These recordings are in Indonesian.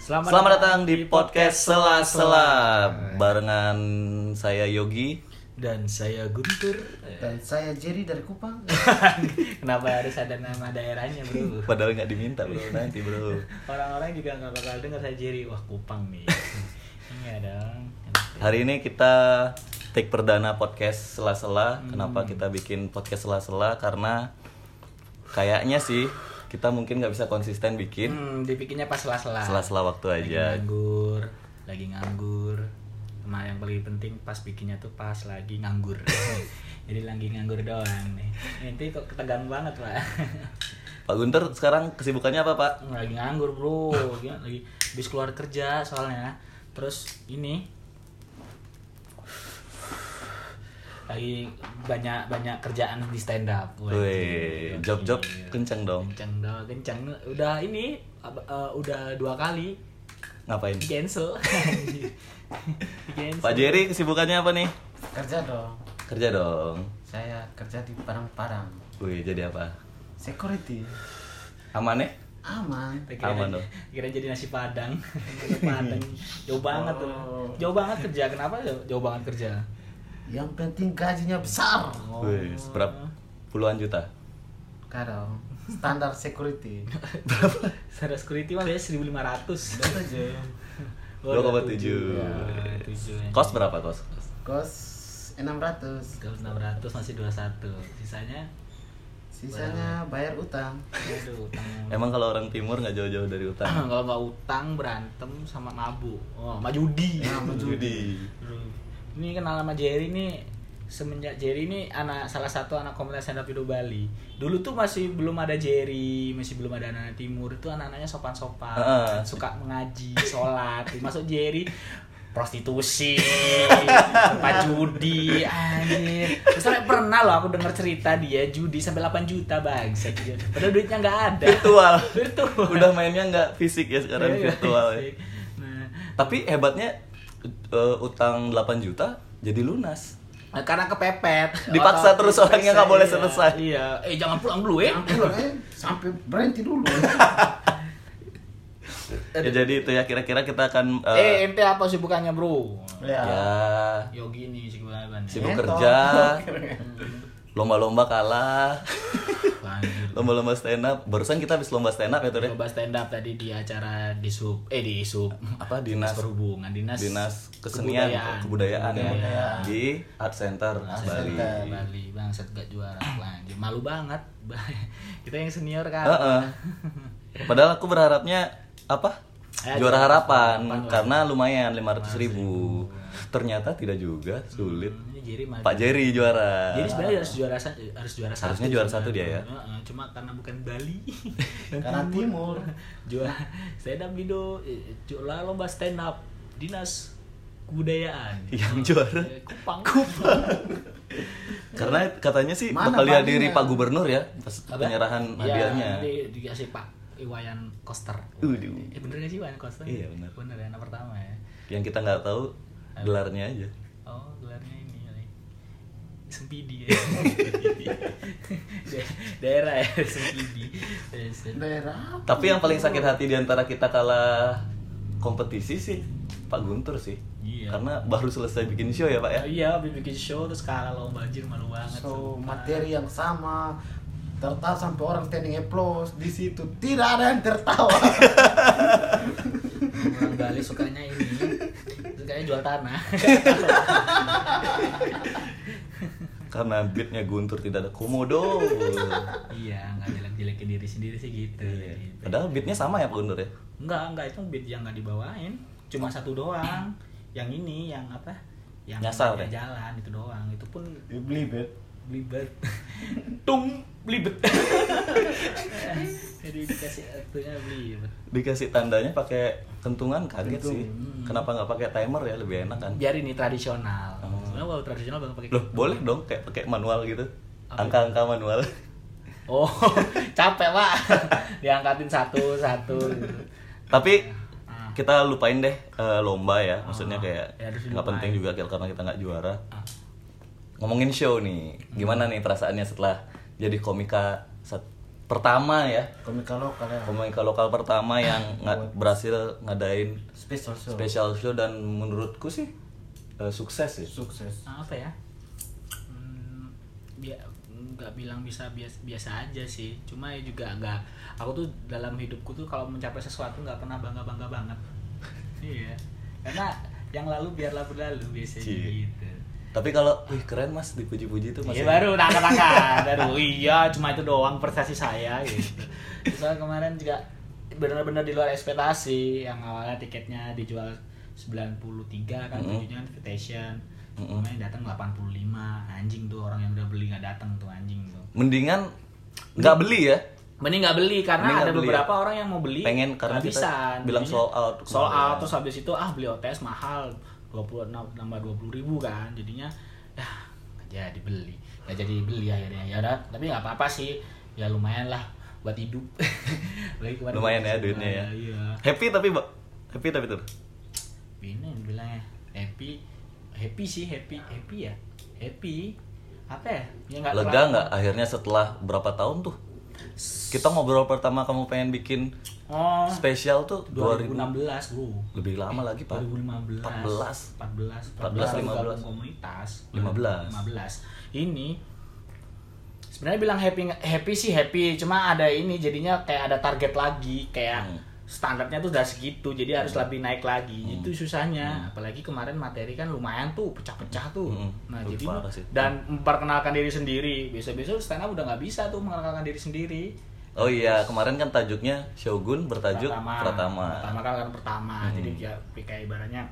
Selamat, Selamat datang di podcast Sela-Sela barengan saya Yogi. Dan saya Guntur. Dan saya Jerry dari Kupang. Kenapa harus ada nama daerahnya bro? Padahal nggak diminta bro nanti bro. Orang-orang juga nggak bakal dengar saya Jerry. Wah Kupang nih. Iya dong. Hari ini kita take perdana podcast Sela-Sela. Kenapa kita bikin podcast Sela-Sela? Karena kayaknya sih kita mungkin nggak bisa konsisten bikin Hmm, dibikinnya pas sela-sela. Sela-Sela waktu Lagi aja. nganggur, lagi nganggur. Sama yang paling penting pas bikinnya tuh pas lagi nganggur. Jadi lagi nganggur doang nih. Nanti kok ketegang banget pak. Pak Gunter sekarang kesibukannya apa Pak? lagi nganggur bro, Gila, lagi habis keluar kerja soalnya. Terus ini lagi banyak banyak kerjaan di stand up. Wih, Wajib. job-job kenceng dong. Kencang Iya. dah, kencang. Udah ini ab- eh, udah dua kali Ngapain? di cancel. Di cancel. Pak Jerry kesibukannya apa nih? kerja dong. Kerja dong. Saya kerja di Parang-Parang. Wih, jadi apa? Security. Aman ya? Aman. Kira- Aman dong. kira jadi nasi padang Nasi padang jauh banget tuh jauh banget kerja kenapa jauh, jauh banget kerja Yang penting gajinya besar. Wih, berapa? Puluhan juta. Kadang standar security. Sarah security mah biasanya 1500 Itu aja. Oh, udah 2,7. tujuh. Ya, tujuh. Kos berapa kos? Kos 600. Kalau 600 masih 21 Sisanya Sisanya bayar utang. Aduh utang Emang kalau orang timur nggak jauh-jauh dari utang. Kalau nggak utang berantem sama mabuk Oh sama judi Ya, sama Judi. Hmm. Ini kenal sama Jerry nih semenjak Jerry ini anak salah satu anak komunitas stand up Indo Bali. Dulu tuh masih belum ada Jerry, masih belum ada anak-anak timur itu anak-anaknya sopan-sopan, Heeh. suka mengaji, sholat. Masuk Jerry prostitusi, tempat judi, anjir. Terus sampai pernah loh aku denger cerita dia judi sampai 8 juta bang, padahal duitnya nggak ada. Virtual. Virtual. Udah mainnya nggak fisik ya sekarang Iya, virtual. ya. sih. Nah, Tapi hebatnya eh, utang 8 juta jadi lunas. Nah, karena kepepet Dipaksa terus orangnya nggak boleh Iya, selesai. iya eh jangan pulang dulu ya Eh, Sampai berhenti dulu. Ya, jadi itu ya kira-kira kita akan eh eh, ente apa sibukannya bro ya yogi nih sibukannya apa nih sibuk Ngetong. kerja, lomba-lomba kalah, Eh, Lanjut. lomba-lomba stand up. Barusan kita habis lomba stand up ya Tur ya? coba stand up tadi di acara di sub eh di sub Apa dinas perhubungan dinas dinas kesenian kebudayaan, ya di Art Center Bali. Bali Bali bangsat gak juara lanjut malu banget kita yang senior kan Heeh. Padahal aku berharapnya apa? Eh, juara juara harapan harapan lah. karena lumayan 500 ribu. Ternyata tidak juga, sulit. Ini Jerry maju. Pak Jerry juara. Jadi sebenarnya harus juara sa- harus juara satu. Eh, Harusnya juara satu dia ya? Heeh, cuma karena bukan Bali. Dan Karena timur. juara stand up Bido, eh, juara lomba stand up dinas kebudayaan. Yang juara. Eh, Kupang. Kupang. Karena katanya sih Mana bakal dihadiri Balinya? Pak Gubernur ya pas penyerahan hadiahnya. Iya, dikasih Pak Iwayan Koster. Waduh. Eh bener gak sih Iwayan Koster? Iya, bener. Bener ya, anak pertama ya. Yang kita nggak tahu gelarnya aja. Oh, gelarnya ini kali. Sempidi ya. Da- daerah ya, Sempidi. Eh, stand- Daerah. Tapi yang paling sakit hati di antara kita kalah kompetisi sih Pak Guntur sih. Iya. Karena baru selesai bikin show ya Pak Oh, ya. iya, habis bikin show terus kalah lomba anjir malu banget. So, sumpah. materi yang sama tertawa sampai orang standing applause di situ tidak ada yang tertawa Orang Bali sukanya ini. Sukanya jual tanah. Karena beatnya Guntur tidak ada komodo. iya, nggak jelek-jelekin diri sendiri sih gitu. Iya. Gitu. Padahal beatnya sama ya Pak Guntur ya. Enggak, enggak itu beat yang nggak dibawain. Cuma satu doang. Yang ini yang apa? Yang Nyasar ya? namanya deh. jalan itu doang. Itu pun beli bet belibet. Tung belibet. Jadi dikasih artinya belibet. Dikasih tandanya pakai kentungan kaget sih. Hmm. Kenapa nggak pakai timer ya lebih enak kan? Biar ini tradisional. Sebenarnya kalau tradisional bakal pakai Oh. Loh boleh dong kayak pakai manual gitu. Angka-angka manual. Oh, capek pak. Diangkatin satu satu. gitu. Tapi kita lupain deh eh, lomba ya. Maksudnya kayak Ah. Ya, harus nggak dilupain. penting juga karena kita nggak juara. Ngomongin show nih, gimana nih perasaannya setelah jadi komika sat- pertama ya komika lokal ya komika lokal pertama yang nga- berhasil ngadain special show special show dan menurutku sih eh, sukses sih sukses apa ya Hmm, bi- nggak bilang bisa biasa biasa aja sih cuma ya juga nggak aku tuh dalam hidupku tuh kalau mencapai sesuatu nggak pernah bangga bangga banget iya karena yang lalu biarlah berlalu biasanya Cie. gitu tapi kalau wih keren mas dipuji-puji itu Iya masih baru tangkap tangkap baru iya cuma itu doang prestasi saya gitu. Soalnya kemarin juga benar-benar di luar ekspektasi yang awalnya tiketnya dijual 93 kan Mm-mm. tujuannya kan invitation. Mm-mm. Kemarin datang 85 anjing tuh orang yang udah beli nggak datang tuh anjing tuh. mendingan nggak beli ya Mending nggak beli karena Mending nggak ada beli, ya? beberapa orang yang mau beli Pengen, karena kita kehabisan. bilang Jadinya sold out Sold kemarin. out terus habis itu ah beli OTS mahal 20 nam- nambah 20 ribu kan jadinya ya nggak jadi beli nggak jadi beli akhirnya ya udah tapi nggak apa-apa sih ya lumayan lah buat hidup Lagi kemarin lumayan ya kemarin, duitnya ya iya happy tapi ba- happy tapi tuh Bina yang bilangnya happy happy sih happy happy ya happy apa ya, ya nggak lega terlalu- nggak akhirnya setelah berapa tahun tuh kita ngobrol pertama kamu pengen bikin oh spesial tuh 2000 2016 bro lebih lama lagi pak 2015 14 15 gabung 14 14, 15. komunitas 15 15. ini sebenarnya bilang happy happy sih happy cuma ada ini jadinya kayak ada target lagi kayak Hmm. standarnya tuh udah segitu jadi harus lebih naik lagi itu susahnya apalagi kemarin materi kan lumayan tuh pecah-pecah tuh Hmm. nah Itu jadi parah sih. dan memperkenalkan diri sendiri biasa-biasa stand up udah nggak bisa tuh mengenalkan diri sendiri oh iya kemarin kan tajuknya Shogun bertajuk Pratama. Pratama, kan orang pertama. Jadi ya kayak ibaratnya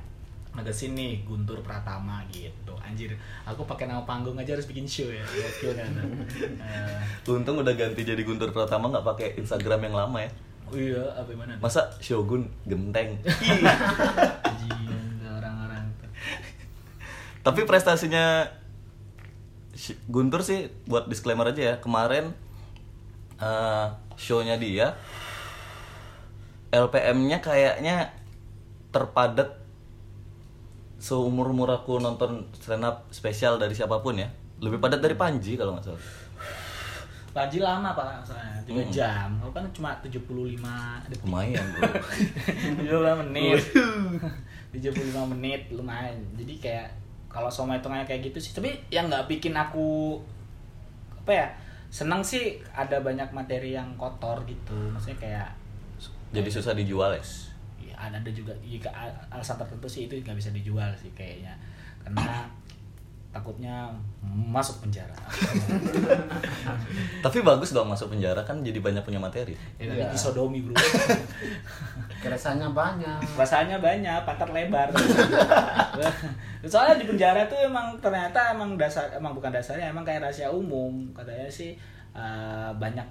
magazine nih Guntur Pratama gitu. Anjir, aku pakai nama panggung aja harus bikin show ya. Gokil kan. Eh, untung udah ganti jadi Guntur Pratama nggak pakai Instagram yang lama ya oh iya, apa mana? masa Shogun genteng Anjir, orang-orang. Tapi prestasinya Sh- Guntur sih buat disclaimer aja ya kemarin eh, show-nya dia LPM-nya kayaknya terpadat seumur umur aku nonton stand up spesial dari siapapun ya lebih padat dari Panji kalau nggak salah Panji lama pak, soalnya 3 Mm. jam. Aku kan cuma 75 detik. lumayan bro 75 menit 75 menit lumayan jadi kayak kalau sama hitungannya kayak gitu sih tapi yang nggak bikin aku apa ya seneng sih ada banyak materi yang kotor gitu maksudnya kayak jadi susah dijual ya ya, ada ada juga jika al- alasan tertentu sih itu nggak bisa dijual sih kayaknya karena takutnya masuk penjara tapi bagus dong masuk penjara kan jadi banyak punya materi ya, tapi Iya. disodomi bro keresannya banyak rasanya banyak pantat lebar soalnya di penjara tuh emang ternyata emang dasar emang bukan dasarnya emang kayak rahasia umum katanya sih eh, banyak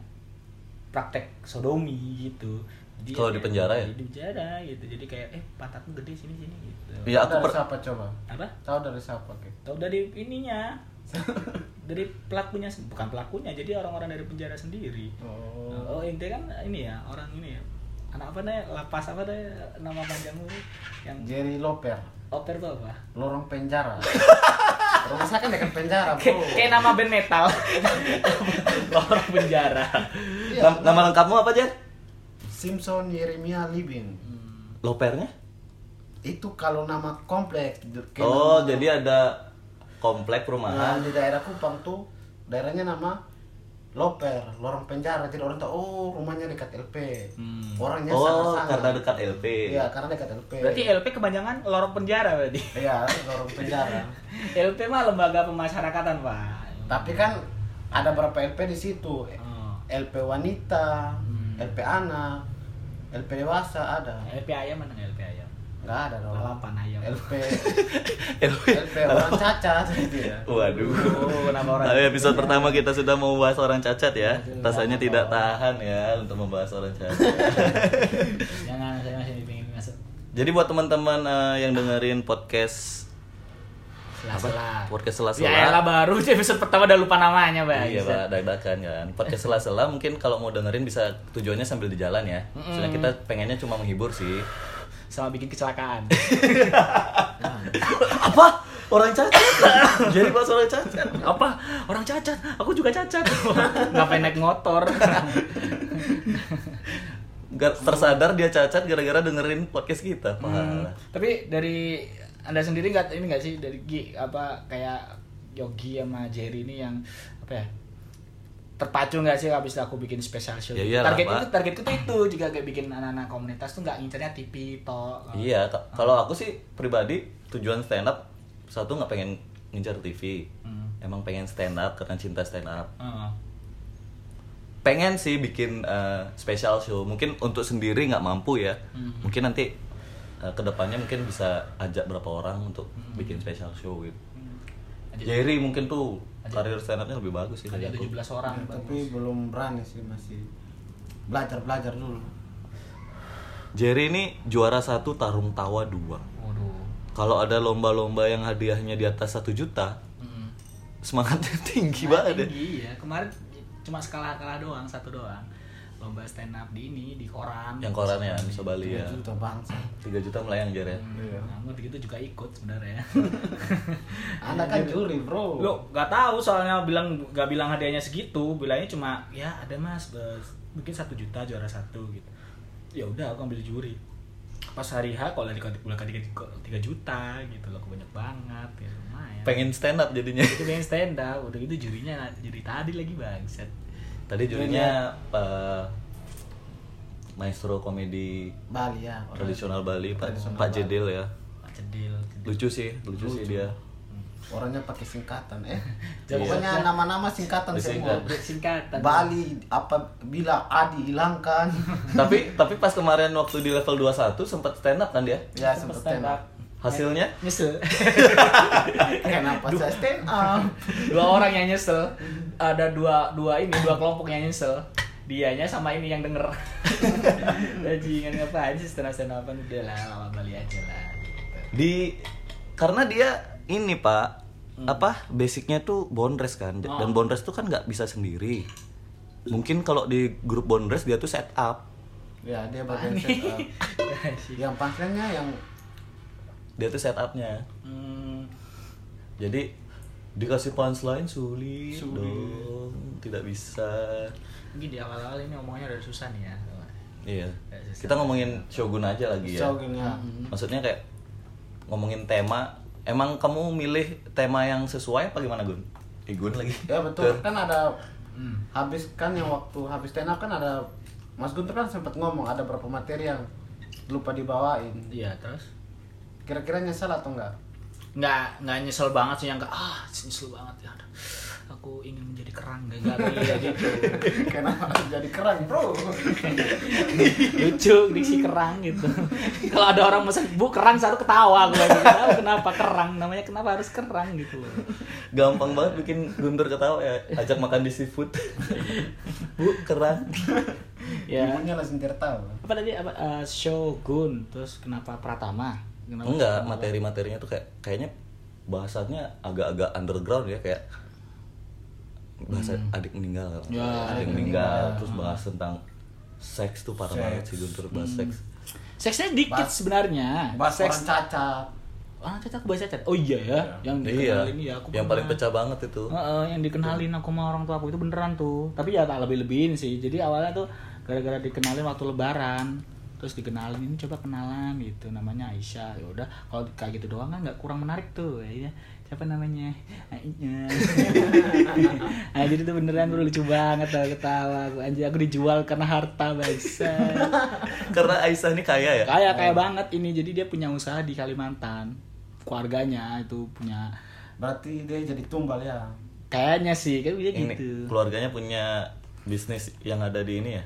praktek sodomi gitu Jadi Kalau di penjara ya? di penjara gitu jadi kayak eh pantatmu gede sini sini gitu ya aku Tahu dari per- siapa coba apa tahu dari siapa Ki? tau dari ininya dari pelakunya sen- bukan pelakunya jadi orang-orang dari penjara sendiri oh Oh, ente kan ini ya, orang ini ya. Anak apa nih? Lapas apa deh nama panjangmu yang Jerry Loper oper tuh apa? lorong penjara rumah saya kan dekat penjara Kayak Oh. bro kayak nama band metal. Orang penjara. Iya. Nam- nama lengkapmu apa Jen? Simpson Yeremia Libin Hmm. Lopernya? itu kalau nama kompleks du- kayak Oh, nama- jadi ada komplek nah, perumahan. di daerah Kupang tuh daerahnya nama Loper, lorong penjara, jadi orang tahu oh rumahnya dekat LP, Hmm. orangnya Oh, sangat-sangat. karena dekat LP. Iya, karena dekat LP. Berarti LP kepanjangan lorong penjara berarti. Iya, lorong penjara. LP mah lembaga pemasyarakatan, Pak. Tapi kan ada berapa LP di situ? Oh. LP wanita, Hmm. LP anak, LP dewasa ada. LP ayam mana nggak LP ayam? Enggak ada dong. Lalapan ayam. LP LP. LP orang cacat gitu ya. Waduh. Oh, kenapa orang? Nah, episode pertama kita sudah mau bahas orang cacat ya. Aduh, Rasanya jangan tidak dong. tahan ya untuk membahas orang cacat. Jangan saya masih pengen masuk. Jadi buat teman-teman eh, yang dengerin podcast Sela-sela. Apa? Podcast sela-sela. Ya elah, baru di episode pertama udah lupa namanya, Pak. Iya pak, dadakan kan. Podcast sela-sela mungkin kalau mau dengerin bisa tujuannya sambil di jalan ya. Soalnya kita pengennya cuma menghibur sih. Sama bikin kecelakaan. Apa? orang cacat jadi pas orang cacat apa orang cacat aku juga cacat Ngapain naik motor? Gar- tersadar dia cacat gara-gara dengerin podcast kita Hmm, parah tapi dari anda sendiri nggak ini nggak sih dari Gi apa kayak Yogi sama Jerry ini yang apa ya terpacu nggak sih habis aku bikin special show? Ya iyalah, target Pak. itu targetku tuh itu juga kayak bikin anak-anak komunitas tuh nggak ngincernya TV toh. iya ka- kalau aku sih pribadi tujuan stand up satu nggak pengen ngincar TV Hmm. emang pengen stand up karena cinta stand up Heeh. pengen sih bikin eh, special show mungkin untuk sendiri nggak mampu ya Mhm. mungkin nanti eh, kedepannya mungkin bisa ajak berapa orang untuk Hmm. bikin special show gitu Ada- Jerry mungkin tuh Ada- karir stand up-nya lebih bagus sih ada dari aku. 17 orang. Ya, tapi bagus. belum berani sih masih belajar belajar dulu Jerry ini juara satu tarung tawa dua Waduh. kalau ada lomba-lomba yang hadiahnya di atas satu juta Mm. semangatnya tinggi Nah, banget ya. tinggi, ya. Kemarin cuma skala kalah doang, satu doang. Lomba stand up di ini di koran. yang korannya Nusa Bali ya Iya. juta bangsa 3 juta melayang Jerry ya. Iya. Namun gitu juga ikut sebenarnya. anda kan juri bro Iya. Lo nggak tahu soalnya bilang nggak bilang hadiahnya segitu, bilangnya cuma ya ada mas, eh, mungkin satu juta juara satu gitu. Ya udah aku ambil juri. Pas hari H kalau dikali ulang kali tiga juta gitu loh, aku banyak banget ya iya. lumayan. pengen stand up jadinya itu pengen stand up, udah gitu jurinya juri tadi lagi bangset. tadi jurinya Iya. eh, maestro komedi Bali ya orang. tradisional Bali Pak, Tradisional Pak Bali. Jedil ya Ah, Cedil, cedil. lucu sih lucu, sih Lucu. dia orangnya pakai singkatan eh Iya. pokoknya nama-nama singkatan Disingkat. semua Singkatan. Bali apa bila Adi hilangkan tapi tapi pas kemarin waktu di level 21 sempat stand up kan dia ya sempet stand up hasilnya Iya. Nyesel. kenapa saya stand up dua orang yang nyesel ada dua dua ini dua kelompok yang nyesel dianya sama ini yang denger bajingan ngapain sih stand up stand upan udah lah lama bali aja lah gitu. di karena dia ini pak Hmm. apa basicnya tuh bondres kan Oh. dan bondres tuh kan nggak bisa sendiri mungkin kalau di grup bondres dia tuh set up ya dia bagian stand up yang pangkalnya yang dia tuh set upnya hmm, jadi dikasih punchline sulit, Sulit. dong tidak bisa mungkin di awal awal ini ngomongnya udah susah nih ya iya Nggak bisa. kita ngomongin shogun aja lagi ya shogunnya maksudnya kayak ngomongin tema emang kamu milih tema yang sesuai apa gimana Gun? Eh Gun lagi ya betul kan ada Hmm. habis kan yang waktu habis stand up kan ada Mas Guntur kan sempat ngomong ada berapa materi yang lupa dibawain iya terus kira-kira nyesal atau enggak nggak nggak nyesel banget sih yang nggak ah nyesel banget ya Aduh, aku ingin menjadi kerangga nggak iya gitu kenapa jadi keren bro lucu diksi kerang gitu kalau ada orang pesan bu kerang selalu ketawa gue Nggak tahu kenapa kerang namanya kenapa harus kerang gitu loh. gampang banget bikin Guntur ketawa ya ajak makan di seafood bu kerang ya ibunya langsung tertawa apa tadi apa eh, shogun terus kenapa pratama kenapa enggak Pratama? materi-materinya tuh kayak kayaknya bahasanya agak-agak underground ya kayak bahasa adik meninggal kalau Hmm. nggak Ya, Hmm. salah. adik adik meninggal meninggal. terus bahas tentang seks tuh parah Seks. banget sih Guntur bahas seks seksnya dikit Bas- sebenarnya bahas orang seks cacat ah cacat aku bahas cacat oh iya ya yang iya dikenalin ya aku pernah. yang paling pecah banget itu Heeh, yang dikenalin aku sama orang tua aku itu beneran tuh tapi ya tak lebih lebihin sih jadi awalnya tuh gara-gara dikenalin waktu lebaran terus dikenalin ini coba kenalan gitu namanya Aisyah ya udah kalau kayak gitu doang kan nggak kurang menarik tuh ya siapa namanya Ainya nah, jadi tuh beneran bro lucu banget tau ketawa aku anjir aku dijual karena harta bangsa karena Aisyah ini kaya ya kayak kayak banget ini jadi dia punya usaha di Kalimantan keluarganya itu punya berarti dia jadi tumbal ya kayaknya sih kayak dia ini gitu keluarganya punya bisnis yang ada di ini ya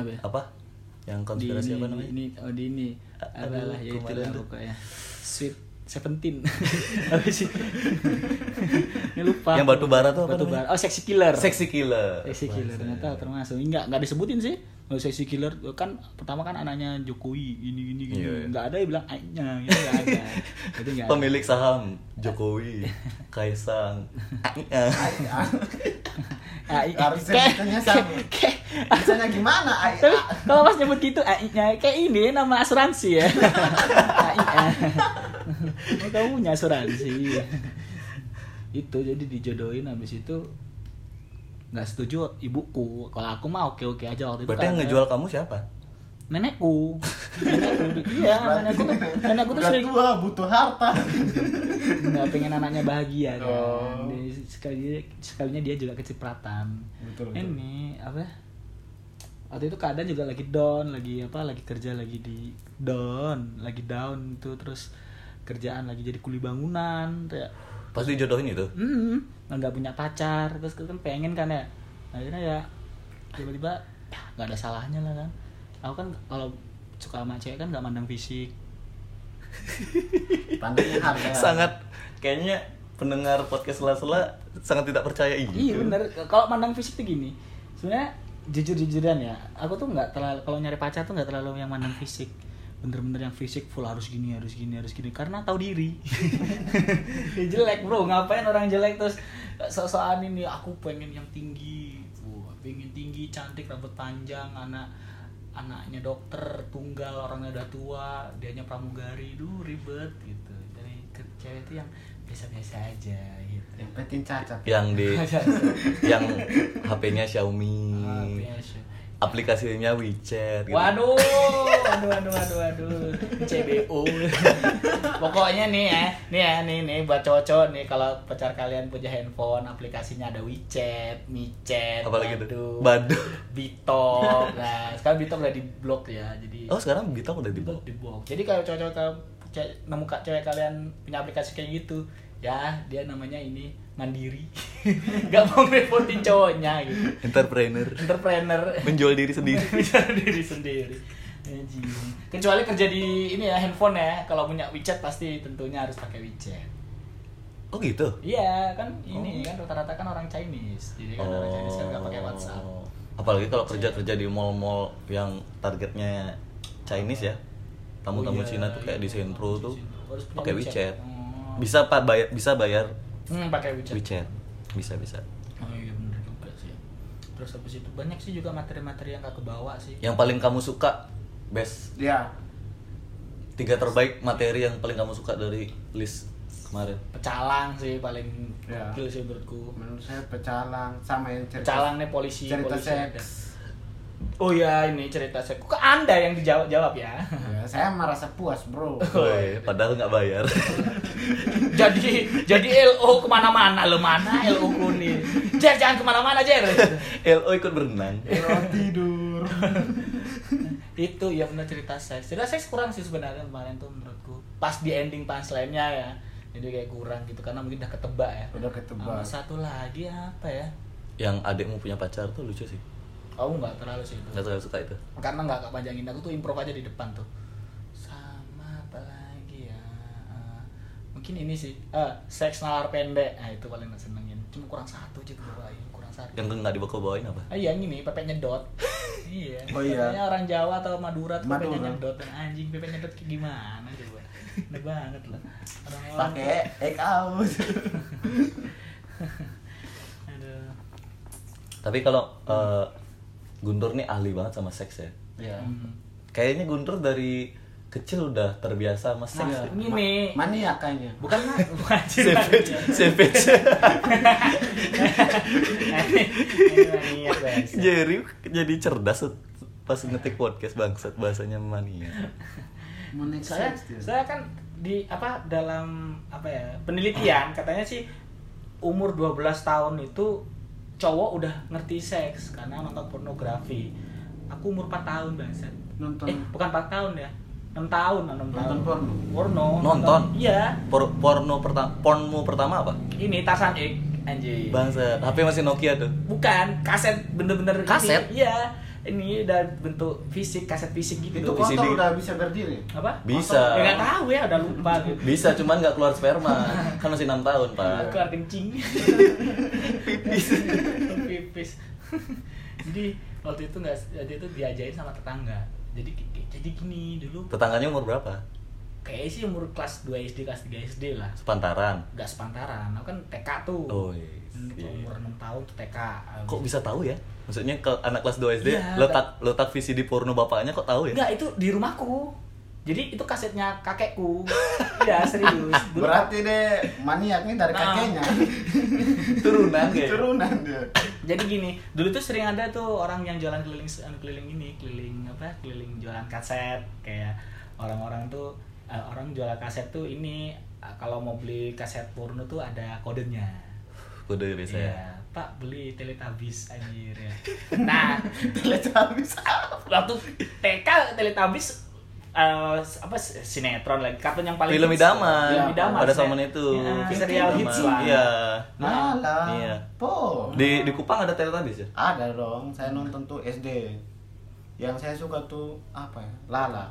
Apa ya? apa yang di ini, konspirasi apa namanya ini oh di ini A- adalah aduh, ya itu kemarin tuh. pokoknya sweet seventeen apa sih ini lupa Yang batu bara tuh apa batu namanya? bara oh sexy killer Sexy killer sexy killer ternyata termasuk enggak enggak disebutin sih Oh, sexy killer kan pertama kan anaknya Jokowi ini ini gini Iya, iya. enggak ada yang bilang ainya itu enggak ada itu enggak ada. pemilik Iya. saham Jokowi Kaisang AI. Harus Kayak- sebutannya sama. kayak- Misalnya gimana? Ai, Tapi A- kalau mas nyebut gitu AI-nya kayak ini nama asuransi ya. AI. Oh, kamu punya asuransi. itu jadi dijodohin habis itu nggak setuju ibuku kalau aku mah oke oke aja waktu itu Berarti yang karena- ngejual kamu siapa? nenekku nenekku iya nenekku tuh nenekku tuh Udah sering tua, butuh harta. nggak Nah, pengen anaknya bahagia kan Oh. Dia- sekali sekalinya dia juga kecipratan Betul, betul. ini apa waktu itu keadaan juga lagi down lagi apa lagi kerja lagi di down lagi down itu terus kerjaan lagi jadi kuli bangunan kayak Pas dijodohin itu. hmm nggak punya pacar terus kan pengen kan ya akhirnya ya tiba-tiba ya, nggak ada salahnya lah kan aku kan kalau suka sama cewek kan nggak mandang fisik Pandangnya harta. Sangat Nah, kayaknya pendengar podcast sela-sela sangat tidak percaya Iya gitu. bener. Kalau mandang fisik tuh gini. Sebenarnya jujur-jujuran ya, aku tuh nggak terlalu kalau nyari pacar tuh nggak terlalu yang mandang fisik. Bener-bener yang fisik full harus gini, harus gini, harus gini karena tahu diri. ya jelek, Bro. Ngapain orang jelek terus sok-sokan ini aku pengen yang tinggi. Wah, pengen tinggi, cantik, rambut panjang, anak anaknya dokter tunggal orangnya udah tua dianya pramugari dulu ribet gitu jadi ke cewek tuh yang biasa-biasa aja gitu Yang penting cacat. Yang di Biasa. yang HP-nya Xiaomi. Ah, biasa. Aplikasinya WeChat gitu. Waduh, waduh, waduh, waduh, waduh, CBO. Pokoknya nih ya, nih ya, nih, nih buat cowok-cowok nih kalau pacar kalian punya handphone, aplikasinya ada WeChat, MiChat, Apalagi itu? Badu, Badu. Bitok. Nah, sekarang Bitok udah diblok ya, jadi Oh, sekarang Bitok udah di diblok, diblok. Jadi kalau cowok-cowok kamu ce- nemu ka- cewek kalian punya aplikasi kayak gitu, ya dia namanya ini mandiri, nggak mau ngerepotin cowoknya gitu. entrepreneur Entrepreneur. menjual diri sendiri. bicara diri sendiri Anjing. kecuali kerja di ini ya handphone ya kalau punya WeChat pasti tentunya harus pakai WeChat Oh gitu. iya kan ini Oh. kan rata-rata kan orang Chinese jadi kan orang Chinese kan nggak pakai WhatsApp Apalagi kalau kerja-kerja di mall-mall yang targetnya Chinese ya. Oh Tamu-tamu iya, Cina tuh kayak di iya, Sentro tamu-tamu tuh Cina. Harus punya pakai WeChat. WeChat. Oh. Bisa Pak bayar bisa bayar hmm, pakai WeChat WeChat. Bisa bisa. oh iya bener juga sih terus habis itu banyak sih juga materi-materi yang gak kebawa sih Yang paling kamu suka best Ya, tiga terbaik materi yang paling kamu suka dari list kemarin. pecalang sih paling Iya. gokil sih menurutku menurut saya pecalang sama yang cerita. pecalang nih polisi cerita polisi seks. Oh ya ini cerita saya. Kok anda yang dijawab jawab ya? Ya, saya merasa puas, Oh, Bro. iya. Woi, padahal nggak bayar. jadi jadi LO kemana-mana lo mana LO ku nih? Jer jangan kemana-mana Jer. LO ikut berenang. iya. Belum tidur. Itu ya benar cerita seks. Cerita seks kurang sih sebenarnya kemarin tuh menurutku. Pas di ending punchline-nya ya. Jadi kayak kurang gitu karena mungkin udah ketebak ya. Udah ketebak. Sama satu lagi apa ya? Yang adikmu punya pacar tuh lucu sih. Aku nggak terlalu sih itu. Nggak terlalu suka itu. karena nggak kepanjangin aku tuh improv aja di depan tuh sama apa lagi ya Eh, mungkin ini sih eh seks nalar pendek nah itu paling nggak senengin cuma kurang satu aja kebawain kurang satu Yang nggak dibawa-bawain apa? ah iya yang ini pepet nyedot iya Oh iya. Katanya orang Jawa atau Madura tuh pepet Madura. nyedot Dan anjing pepet nyedot kayak gimana coba Bener banget lah Orang-orang tuh- Pakai egg out. aduh Tapi kalau eh, Guntur nih ahli banget sama seks ya. Ya. Hmm. Kayaknya Guntur dari kecil udah terbiasa sama seks. Nah. Iya. ya. Gini. Ma- mania kayaknya. bukan lah bukan Savage, savage. Iya, bahasa. Jerry jadi cerdas pas ngetik podcast bangsat bahasanya mania. Menit saya saya kan di apa dalam apa ya penelitian katanya sih umur 12 tahun itu cowok udah ngerti seks karena nonton pornografi aku umur 4 tahun bangsat Nonton. eh bukan 4 tahun ya 6 tahun 6 tahun Nonton porno? porno Nonton? iya Por- porno pertama pornmu pertama apa? ini Tarzan X anjir Bangsat. HP masih Nokia tuh. bukan kaset bener-bener ini. Kaset? iya ini udah bentuk fisik kaset fisik gitu Itu Di sini. kotor udah bisa berdiri. apa Bisa. ya, nggak tahu ya udah lupa gitu Bisa cuman nggak keluar sperma. Kan masih 6 tahun, Aku Pak. kencing pipis pipis jadi waktu itu nggak jadi itu diajarin sama tetangga jadi jadi gini dulu Tetangganya umur berapa? kayaknya sih umur kelas 2 SD kelas 3 SD lah Sepantaran. gak sepantaran aku kan TK tuh Oh, iya. Hmm, umur 6 tahun tuh TK Kok bisa tahu ya? Maksudnya ke anak kelas 2 SD Iya, letak letak visi di porno bapaknya kok tahu ya? enggak itu di rumahku jadi itu kasetnya kakekku ya serius Dulu- Berarti deh maniaknya dari Nah. kakeknya. Turunan ya? kayaknya. Turunan dia. jadi gini dulu tuh sering ada tuh orang yang jualan keliling keliling ini keliling apa keliling jualan kaset kayak orang-orang tuh eh, orang jualan kaset tuh ini eh, kalau mau beli kaset porno tuh ada kodenya Kode biasanya. Iya, pak beli teletabis anjir ya nah Telecabis. waktu TK teletabis eh, apa sinetron lagi kartun yang paling Film hits. idaman. film idaman Pada sinet- zaman itu. Ya, Film serial idaman. hits lah Iya. nah Malah. Iya. Po. Di di Kupang ada Teletubbies ya? Ada dong, saya nonton tuh SD. Yang saya suka tuh apa ya? Lala.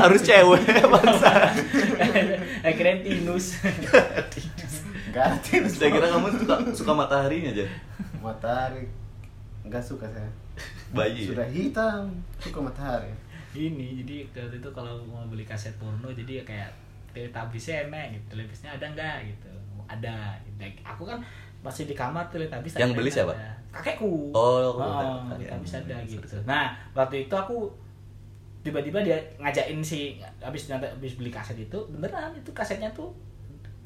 Harus cewek bangsa. eh keren tinus Enggak ada tinus. Saya kira kamu suka suka mataharinya aja. matahari. Enggak suka saya. Bayi. ya? Sudah hitam, suka matahari. ini jadi waktu itu kalau mau beli kaset porno jadi ya kayak teletabisnya enak gitu teletabisnya ada nggak gitu ada Like, aku kan masih di kamar teletabis Yang ada beli nggak siapa? ada. kakekku Oh, Oh, kakek. teletabis ada Sorry, gitu sorry. nah waktu itu aku tiba-tiba dia ngajakin si habis habis beli kaset itu beneran itu kasetnya tuh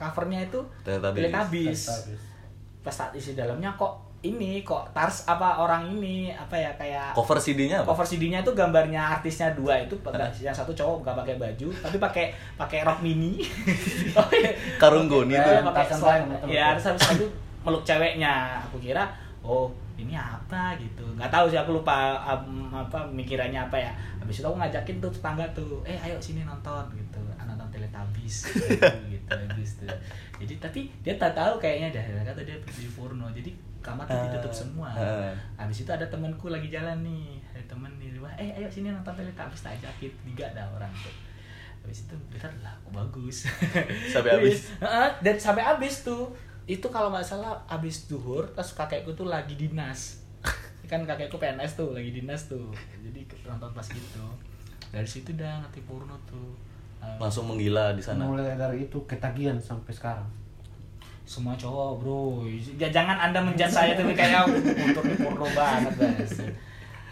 covernya itu Teletubbies. teletabis pas saat isi dalamnya kok ini kok tars apa orang ini apa ya kayak Cover CD-nya apa? cover CD-nya itu gambarnya artisnya dua itu pakai- yang satu cowok gak pakai baju tapi pakai pakai rok mini Oh, iya. Karung goni Ya, tuh. Eh, pakai Tarzan slide. Prime, betul-betul. ya terus habis itu meluk ceweknya aku kira oh ini apa gitu nggak tahu sih aku lupa um, apa mikirannya apa ya habis itu aku ngajakin tuh tetangga tuh eh ayo sini nonton gitu Ah, nonton teletabis gitu habis tuh jadi tapi dia tak tahu kayaknya dah Dia kata dia pergi porno jadi kamar tuh ditutup semua Ah. habis itu ada temanku lagi jalan nih ada temen nih wah eh ayo sini nonton teletabis tak ajakin tiga ada orang tuh habis itu bentar lah aku bagus Sampai habis. Heeh, dan sampai habis tuh itu kalau nggak salah habis duhur terus kakekku tuh lagi dinas kan kakekku PNS tuh lagi dinas tuh jadi nonton pas gitu dari situ dah nanti Purno tuh Eh, Langsung menggila di sana. Mulai dari itu ketagihan sampai sekarang. semua cowok bro Ya, jangan anda menjat saya tapi kayak untuk di porno banget guys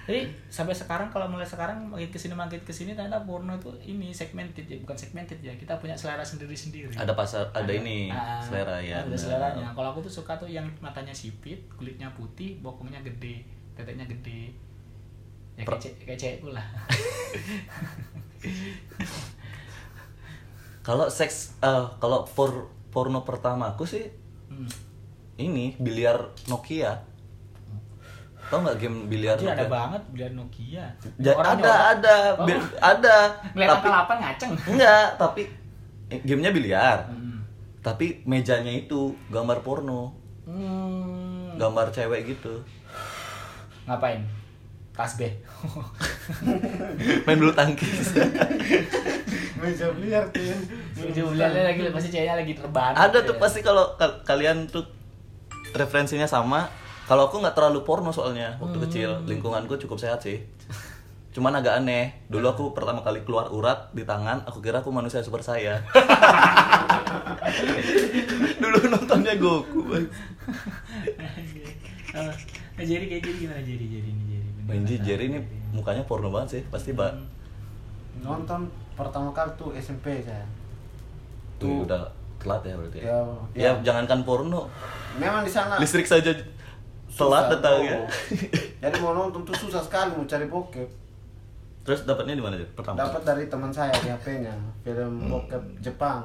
jadi sampai sekarang kalau mulai sekarang makin kesini makin kesini ternyata porno tuh ini segmented ya bukan segmented ya kita punya selera sendiri sendiri Ada pasar, ada ini Ah, selera ya. ada benar. seleranya kalau aku tuh suka tuh yang matanya sipit kulitnya putih bokongnya gede teteknya gede ya Per- kayak ce- kayak cewekku lah Kalau seks eh kalau por- porno pertamaku sih hmm. ini biliar Nokia. Tau nggak game biliar Anjir, ada Nokia? banget biliar Nokia Ja- ada, ada, Oh. bil- ada. ngeliat Tapi angka 8 ngaceng enggak, tapi eh, gamenya biliar. Hmm. Tapi mejanya itu gambar porno, Hmm. gambar cewek gitu. ngapain tasbih Main bulu tangkis. Meja biliar tuh. Jujur, lihatnya lagi pasti ceweknya lagi ya. terban ada tuh ya. pasti kalau kal- kalian tuh referensinya sama kalau aku nggak terlalu porno soalnya waktu kecil lingkunganku cukup sehat sih cuman agak aneh dulu aku pertama kali keluar urat di tangan aku kira aku manusia super saya dulu nontonnya Goku Bang. Eh, jadi kayak jadi gimana jadi jadi ini jadi Bener Benji kata. Jerry ini mukanya porno banget sih pasti mbak Hmm. Nonton pertama kali tuh SMP saya. tuh udah telat ya berarti ya, Ya, ya ya. jangankan porno Memang di sana listrik saja telat susah, datang oh. ya Jadi mau nonton tuh susah sekali mau cari bokep. terus dapatnya di mana Jer? pertama Dapat dari teman saya di HP-nya Hmm. film bokep Jepang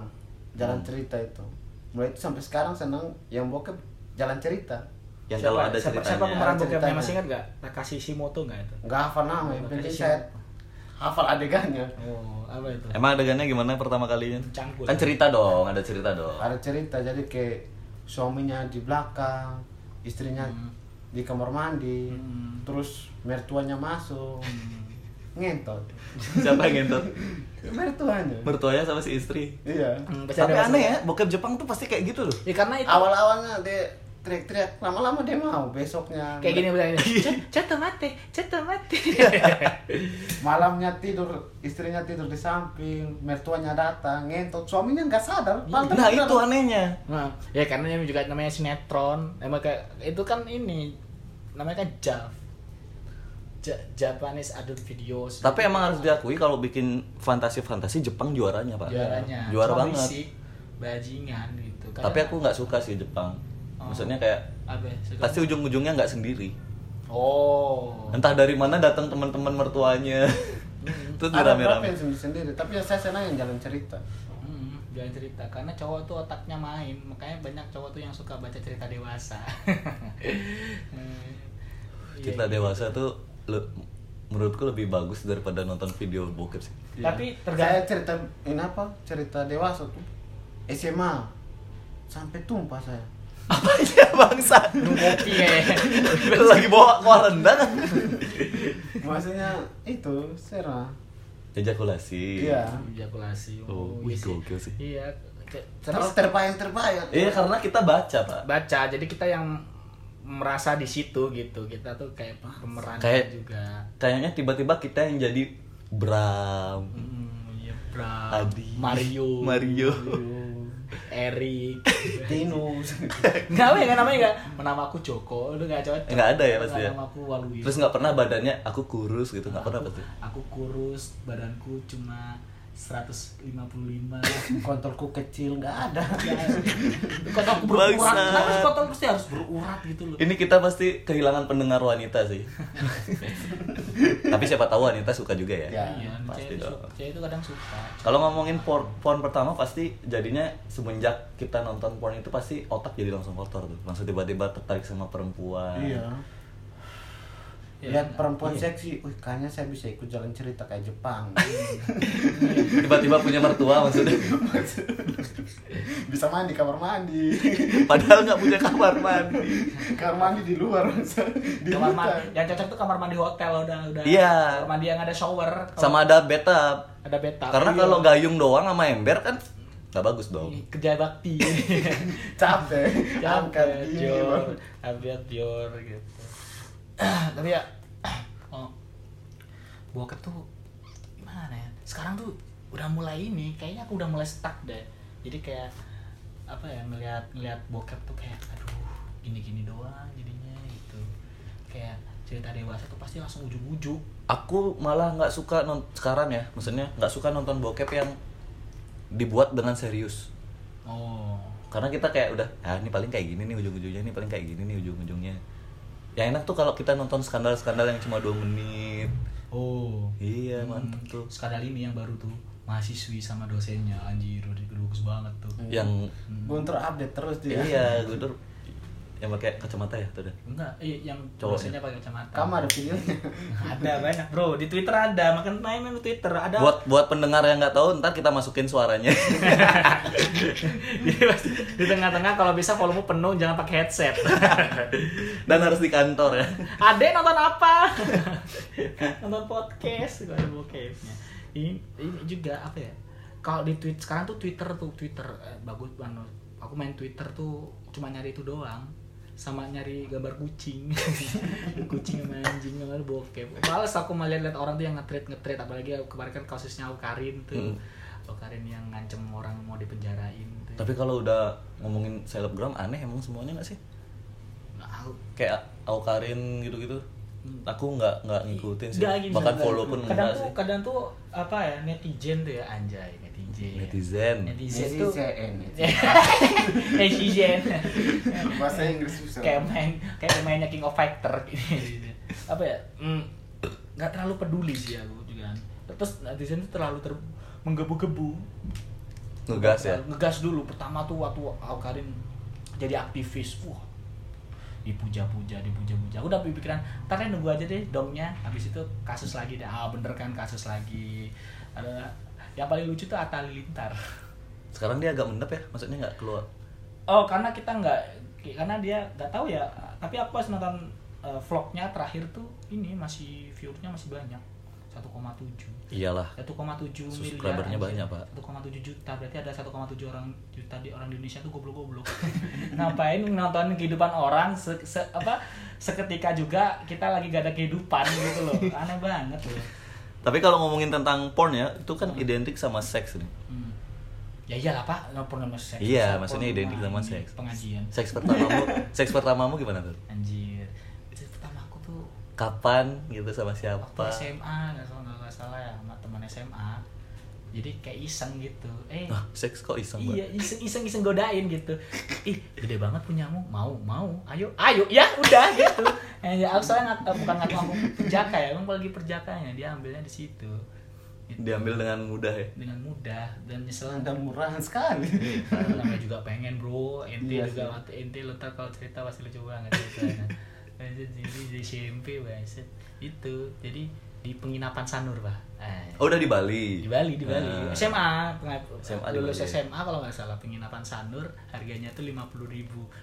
jalan cerita itu. Mulai itu sampai sekarang senang yang bokep jalan cerita. yang siapa, kalau ada siapa, ceritanya siapa pemeran Ada bokepnya ceritanya. masih ingat gak Takashi Shimoto gak itu Enggak hafal nama, yang penting saya hafal adegannya. oh apa itu Emang adegannya gimana pertama kalinya? Cangkul. Kan cerita dong, ada cerita dong. Ada cerita jadi kayak suaminya di belakang, istrinya di kamar mandi, Hmm. terus mertuanya masuk. Ngentot. Siapa yang ngentot? Mertuanya. Mertuanya sama si istri. iya. Hmm, pasti Tapi ada aneh masalah. ya, bokep Jepang tuh pasti kayak gitu loh. ya karena itu Awal-awalnya dia teriak-teriak lama-lama dia mau besoknya Kayak gini bilang ini. Ceto mate, ceto mate. malamnya tidur istrinya tidur di samping mertuanya datang ngentot suaminya nggak sadar padahal Nah beneran. itu anehnya. nah, ya karena ini juga namanya sinetron. Emang kayak itu kan ini namanya kan JAV. Ja- Japanese Adult Videos. Tapi emang harus diakui kalau bikin fantasi-fantasi Jepang juaranya pak. juaranya. Juara Cuma banget. Bisik, bajingan gitu. Kadang- Tapi aku nggak suka sih Jepang. Oh. Maksudnya kayak apa? ya, suka- pasti ujung-ujungnya nggak sendiri. Oh. Entah dari mana datang teman-teman mertuanya. Hmm. Terus ada berapa yang rame-rame. sendiri, sendiri tapi ya saya senang yang jalan cerita Mm, jangan cerita karena cowok tuh otaknya main makanya banyak cowok tuh yang suka baca cerita dewasa Hmm. Iya, Cerita iya. dewasa tuh le- menurutku lebih bagus daripada nonton video bokep sih. Tapi Iya. tergantung- saya cerita ini apa cerita dewasa tuh SMA sampai tumpah saya Apa ya bangsa? minum kopi kayaknya Lagi bawa kuah rendang. maksudnya itu serah Ejakulasi. Iya. ejakulasi Oh, iya wih, sih. gokil sih. iya ke- terus terus terbayang terbayang Iya karena kita baca pak. baca jadi kita yang merasa di situ gitu kita tuh kayak pemeran Kayak- juga Kayaknya tiba-tiba kita yang jadi Bram, Hmm, iya, Bram. Adi, Mario Mario. Erik Tinus Enggak apa ya nggak namanya enggak. Nama aku Joko, lu enggak cocok. Nggak ada ya, pasti ya? Nama aku Waluyo. Terus nggak pernah badannya aku kurus gitu nggak pernah aku, pasti. aku kurus, badanku cuma 155. kontolku kecil nggak ada Iya. Kotor aku berurat, Bangsat. kenapa sih kotor pasti harus berurat gitu loh. Ini kita pasti kehilangan pendengar wanita sih. Tapi siapa tahu wanita suka juga ya. Ya. Iya, pasti cewek itu, dong. su- cewek itu kadang suka. Kalau ngomongin por- porn pertama pasti jadinya semenjak kita nonton porn itu pasti otak jadi langsung kotor tuh. Langsung tiba-tiba tertarik sama perempuan. iya Ya, lihat perempuan seksi, wih kayaknya saya bisa ikut jalan cerita kayak Jepang Tiba-tiba punya mertua maksudnya. bisa mandi kamar mandi Padahal nggak punya kamar mandi. kamar mandi di luar masa? di kamar hutan. mandi yang cocok tuh kamar mandi hotel udah udah. Iya. Kamar mandi yang ada shower. kalau Sama ada bathtub. ada Iya. beta. Karena kalau gayung doang sama ember kan nggak bagus dong. Iya, kerja bakti. capek angkat Angkat gini Dior, Bang. angkat Dior gitu. Tapi ya, oh, bokep tuh gimana ya? Sekarang tuh udah mulai ini, kayaknya aku udah mulai stuck deh. Jadi kayak apa ya ngelihat ngelihat bokep tuh kayak aduh gini-gini doang jadinya gitu. Kayak cerita dewasa tuh pasti langsung ujuk-ujuk. Aku malah nggak suka non sekarang ya, maksudnya nggak suka nonton bokep yang dibuat dengan serius. Oh. karena kita kayak udah ah ini paling kayak gini nih ujung-ujungnya ini paling kayak gini nih ujung-ujungnya yang enak tuh kalau kita nonton skandal-skandal yang cuma dua menit Oh. iya Hmm, mantep tuh Skandal ini yang baru tuh mahasiswi sama dosennya anjir udah bagus banget tuh. yang Guntur update terus dia iya Guntur yang pakai kacamata ya tuh deh Enggak, eh, yang Cowoknya. dosennya pakai kacamata. kamu ada videonya ada banyak bro di Twitter ada makan main main di Twitter ada buat buat pendengar yang nggak tahu ntar kita masukin suaranya Jadi pasti di tengah-tengah kalau bisa volume penuh jangan pakai headset dan harus di kantor ya ade nonton apa nonton podcast gak ada podcastnya ini, ini juga apa ya kalau di tweet sekarang tuh Twitter tuh Twitter eh, bagus banget aku main Twitter tuh cuma nyari itu doang sama nyari gambar kucing kucing sama anjing sama bokep males aku malah lihat orang tuh yang ngetrit ngetrit apalagi kemarin kan kasusnya Aukarin tuh Hmm. Aukarin yang ngancem orang mau dipenjarain tuh. tapi kalau udah ngomongin selebgram aneh emang semuanya nggak sih Nah, aku- kayak Aukarin gitu-gitu aku nggak nggak ngikutin sih Nggak, gini, bahkan sebenarnya. follow pun kadang enggak tuh sih kadang tuh apa ya netizen tuh ya anjay netizen netizen Iya. netizen Netizen. tuh netizen bahasa Inggris susah kayak main kayak mainnya King of Fighter gitu apa ya mm, nggak terlalu peduli sih aku juga terus netizen tuh terlalu ter menggebu-gebu ngegas ya ngegas dulu pertama tuh waktu Aukarin jadi aktivis wah dipuja-puja dipuja-puja aku udah pikiran ntar deh nunggu aja deh dongnya habis itu kasus lagi deh ah bener kan kasus lagi ada yang paling lucu tuh Atta Lintar sekarang dia agak mendep ya maksudnya nggak keluar oh karena kita nggak karena dia nggak tahu ya tapi aku pas nonton eh, vlognya terakhir tuh ini masih viewernya masih banyak 1,7 Iyalah. 1,7 miliar Subscribernya anjir. banyak, Pak. 1,7 juta berarti ada 1,7 orang juta di orang di Indonesia tuh goblok-goblok ngapain nonton kehidupan orang se, se- apa seketika juga kita lagi gak ada kehidupan gitu loh aneh banget Iya. loh Tapi kalau ngomongin tentang porn ya, itu kan identik sama seks nih. hmm. ya iyalah pak lapor sama seks Lapor Iya, maksudnya identik sama seks. pengajian Seks pertamamu, seks pertamamu gimana tuh? anjir itu pertama aku tuh Kapan gitu sama siapa? waktu SMA nggak salah nggak salah ya sama teman SMA jadi kayak iseng gitu eh Ah, seks kok iseng iya banget. iseng iseng iseng godain gitu ih gede banget punyamu mau mau ayo ayo ya udah gitu Eh, ya aku soalnya ngat- eh, bukan ngaku aku perjaka ya emang lagi perjakanya dia ambilnya di situ Gitu. Diambil dengan mudah ya. dengan mudah dan nyesel Anda murahan sekali. namanya juga pengen bro ente Iya juga sih. waktu ente lo tau kalau cerita pasti lucu banget ceritanya jadi di SMP banget itu jadi di penginapan Sanur pak Eh, Oh, udah di Bali. di Bali di Bali Ah. SMA, pengab- SMA di lulus Bali. ya. SMA kalau nggak salah penginapan Sanur harganya tuh 50.000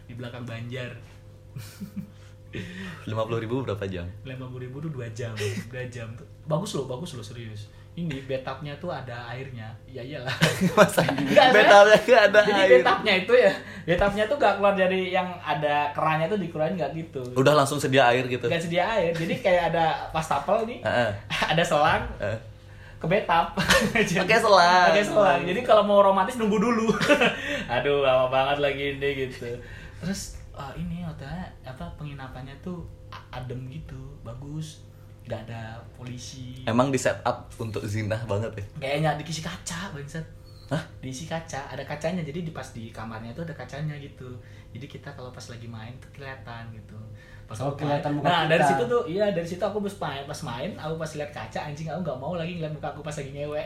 di belakang Banjar 50 ribu berapa jam? 50.000 tuh 2 jam 2 jam tuh bagus loh bagus loh serius ini bathtubnya tuh ada airnya ya iyalah Masa Nggak, betulnya nggak ada jadi air. bathtubnya itu ya bathtubnya tuh gak keluar dari yang ada kerannya tuh dikeluarin nggak gitu Udah langsung sedia air gitu. Ah, nggak sedia air jadi kayak ada wastafel nih Heeh. ada selang Heeh. ke betap Jadi- Pakai selang. pakai selang jadi kalau mau romantis nunggu dulu aduh lama banget lagi ini gitu terus eh, ini hotelnya apa penginapannya tuh a- adem gitu bagus nggak ada polisi Emang di set up untuk zinah banget ya. kayaknya diisi kaca bangset Hah? diisi kaca ada kacanya jadi di pas di kamarnya tuh ada kacanya gitu jadi kita kalau pas lagi main tuh kelihatan gitu pas Oh, aku main- kelihatan muka nah kita. dari situ tuh iya dari situ aku pas main pas main aku pas lihat kaca anjing aku nggak mau lagi ngeliat muka aku pas lagi ngewe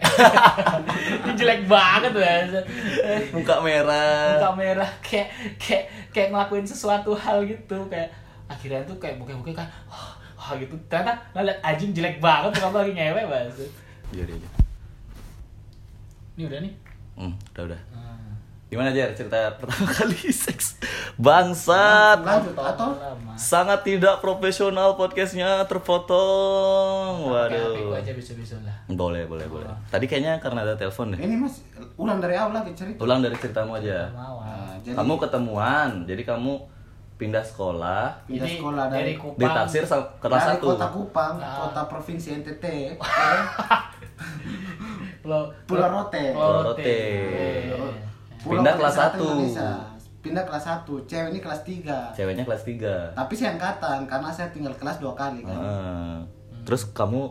ini jelek banget bangset Eh. Muka merah. muka merah kayak kayak kayak ngelakuin sesuatu hal gitu kayak akhirnya tuh kayak buka-buka kan wah gitu ternyata lah, liat anjing jelek banget muka aku lagi ngewe bangset Iya, iya. iya. ini udah nih Hmm, udah udah. Ah. Gimana aja cerita pertama kali seks? Bangsat. Lanjut atau Lama. Sangat tidak profesional podcastnya terpotong. Pakai HP gua Waduh. aja bisa-bisa lah. Boleh, boleh, boleh. Tadi kayaknya karena ada telepon deh. ini Mas ulang dari awal lagi cerita. Ulang dari ceritamu Nggak aja. Mau. ah. Nah, jadi Kamu ketemuan, jadi kamu pindah sekolah, pindah Jadi, sekolah dari dari Kupang. ditaksir sa- kelas dari satu. kota Kupang, Ah. kota provinsi NTT, eh, Pulau Pulau Rote. Pulau Pulau Rote. Rote. Iya. Pindah Provinsi kelas Selatan satu. Indonesia. Pindah kelas 1, cewek ini kelas 3. Ceweknya kelas 3. Tapi saya angkatan karena saya tinggal kelas dua kali Ah. kan. Terus kamu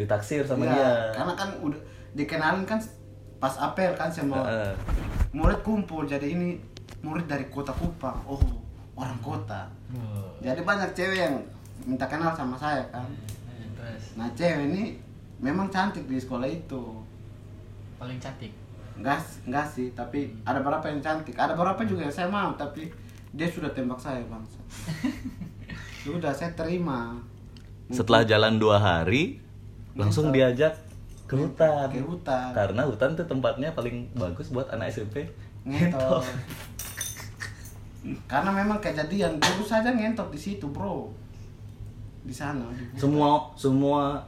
ditaksir sama Iya, dia. Karena kan udah dikenalin kan pas apel kan sama Heeh. murid kumpul jadi ini murid dari kota Kupang. Oh, orang kota. Wah. Jadi banyak cewek yang minta kenal sama saya kan. Nah, Terus Nah, cewek ini memang cantik di sekolah itu. paling cantik. Enggak, s- enggak sih, tapi ada berapa yang cantik. Ada berapa juga yang saya mau, tapi dia sudah tembak saya, Bang. sudah saya terima. Setelah jalan dua hari, langsung diajak ke hutan. Ke hutan. Karena hutan tuh tempatnya paling bagus buat anak SMP. ngentot karena memang kejadian baru saja ngentot di situ bro di sana Semua semua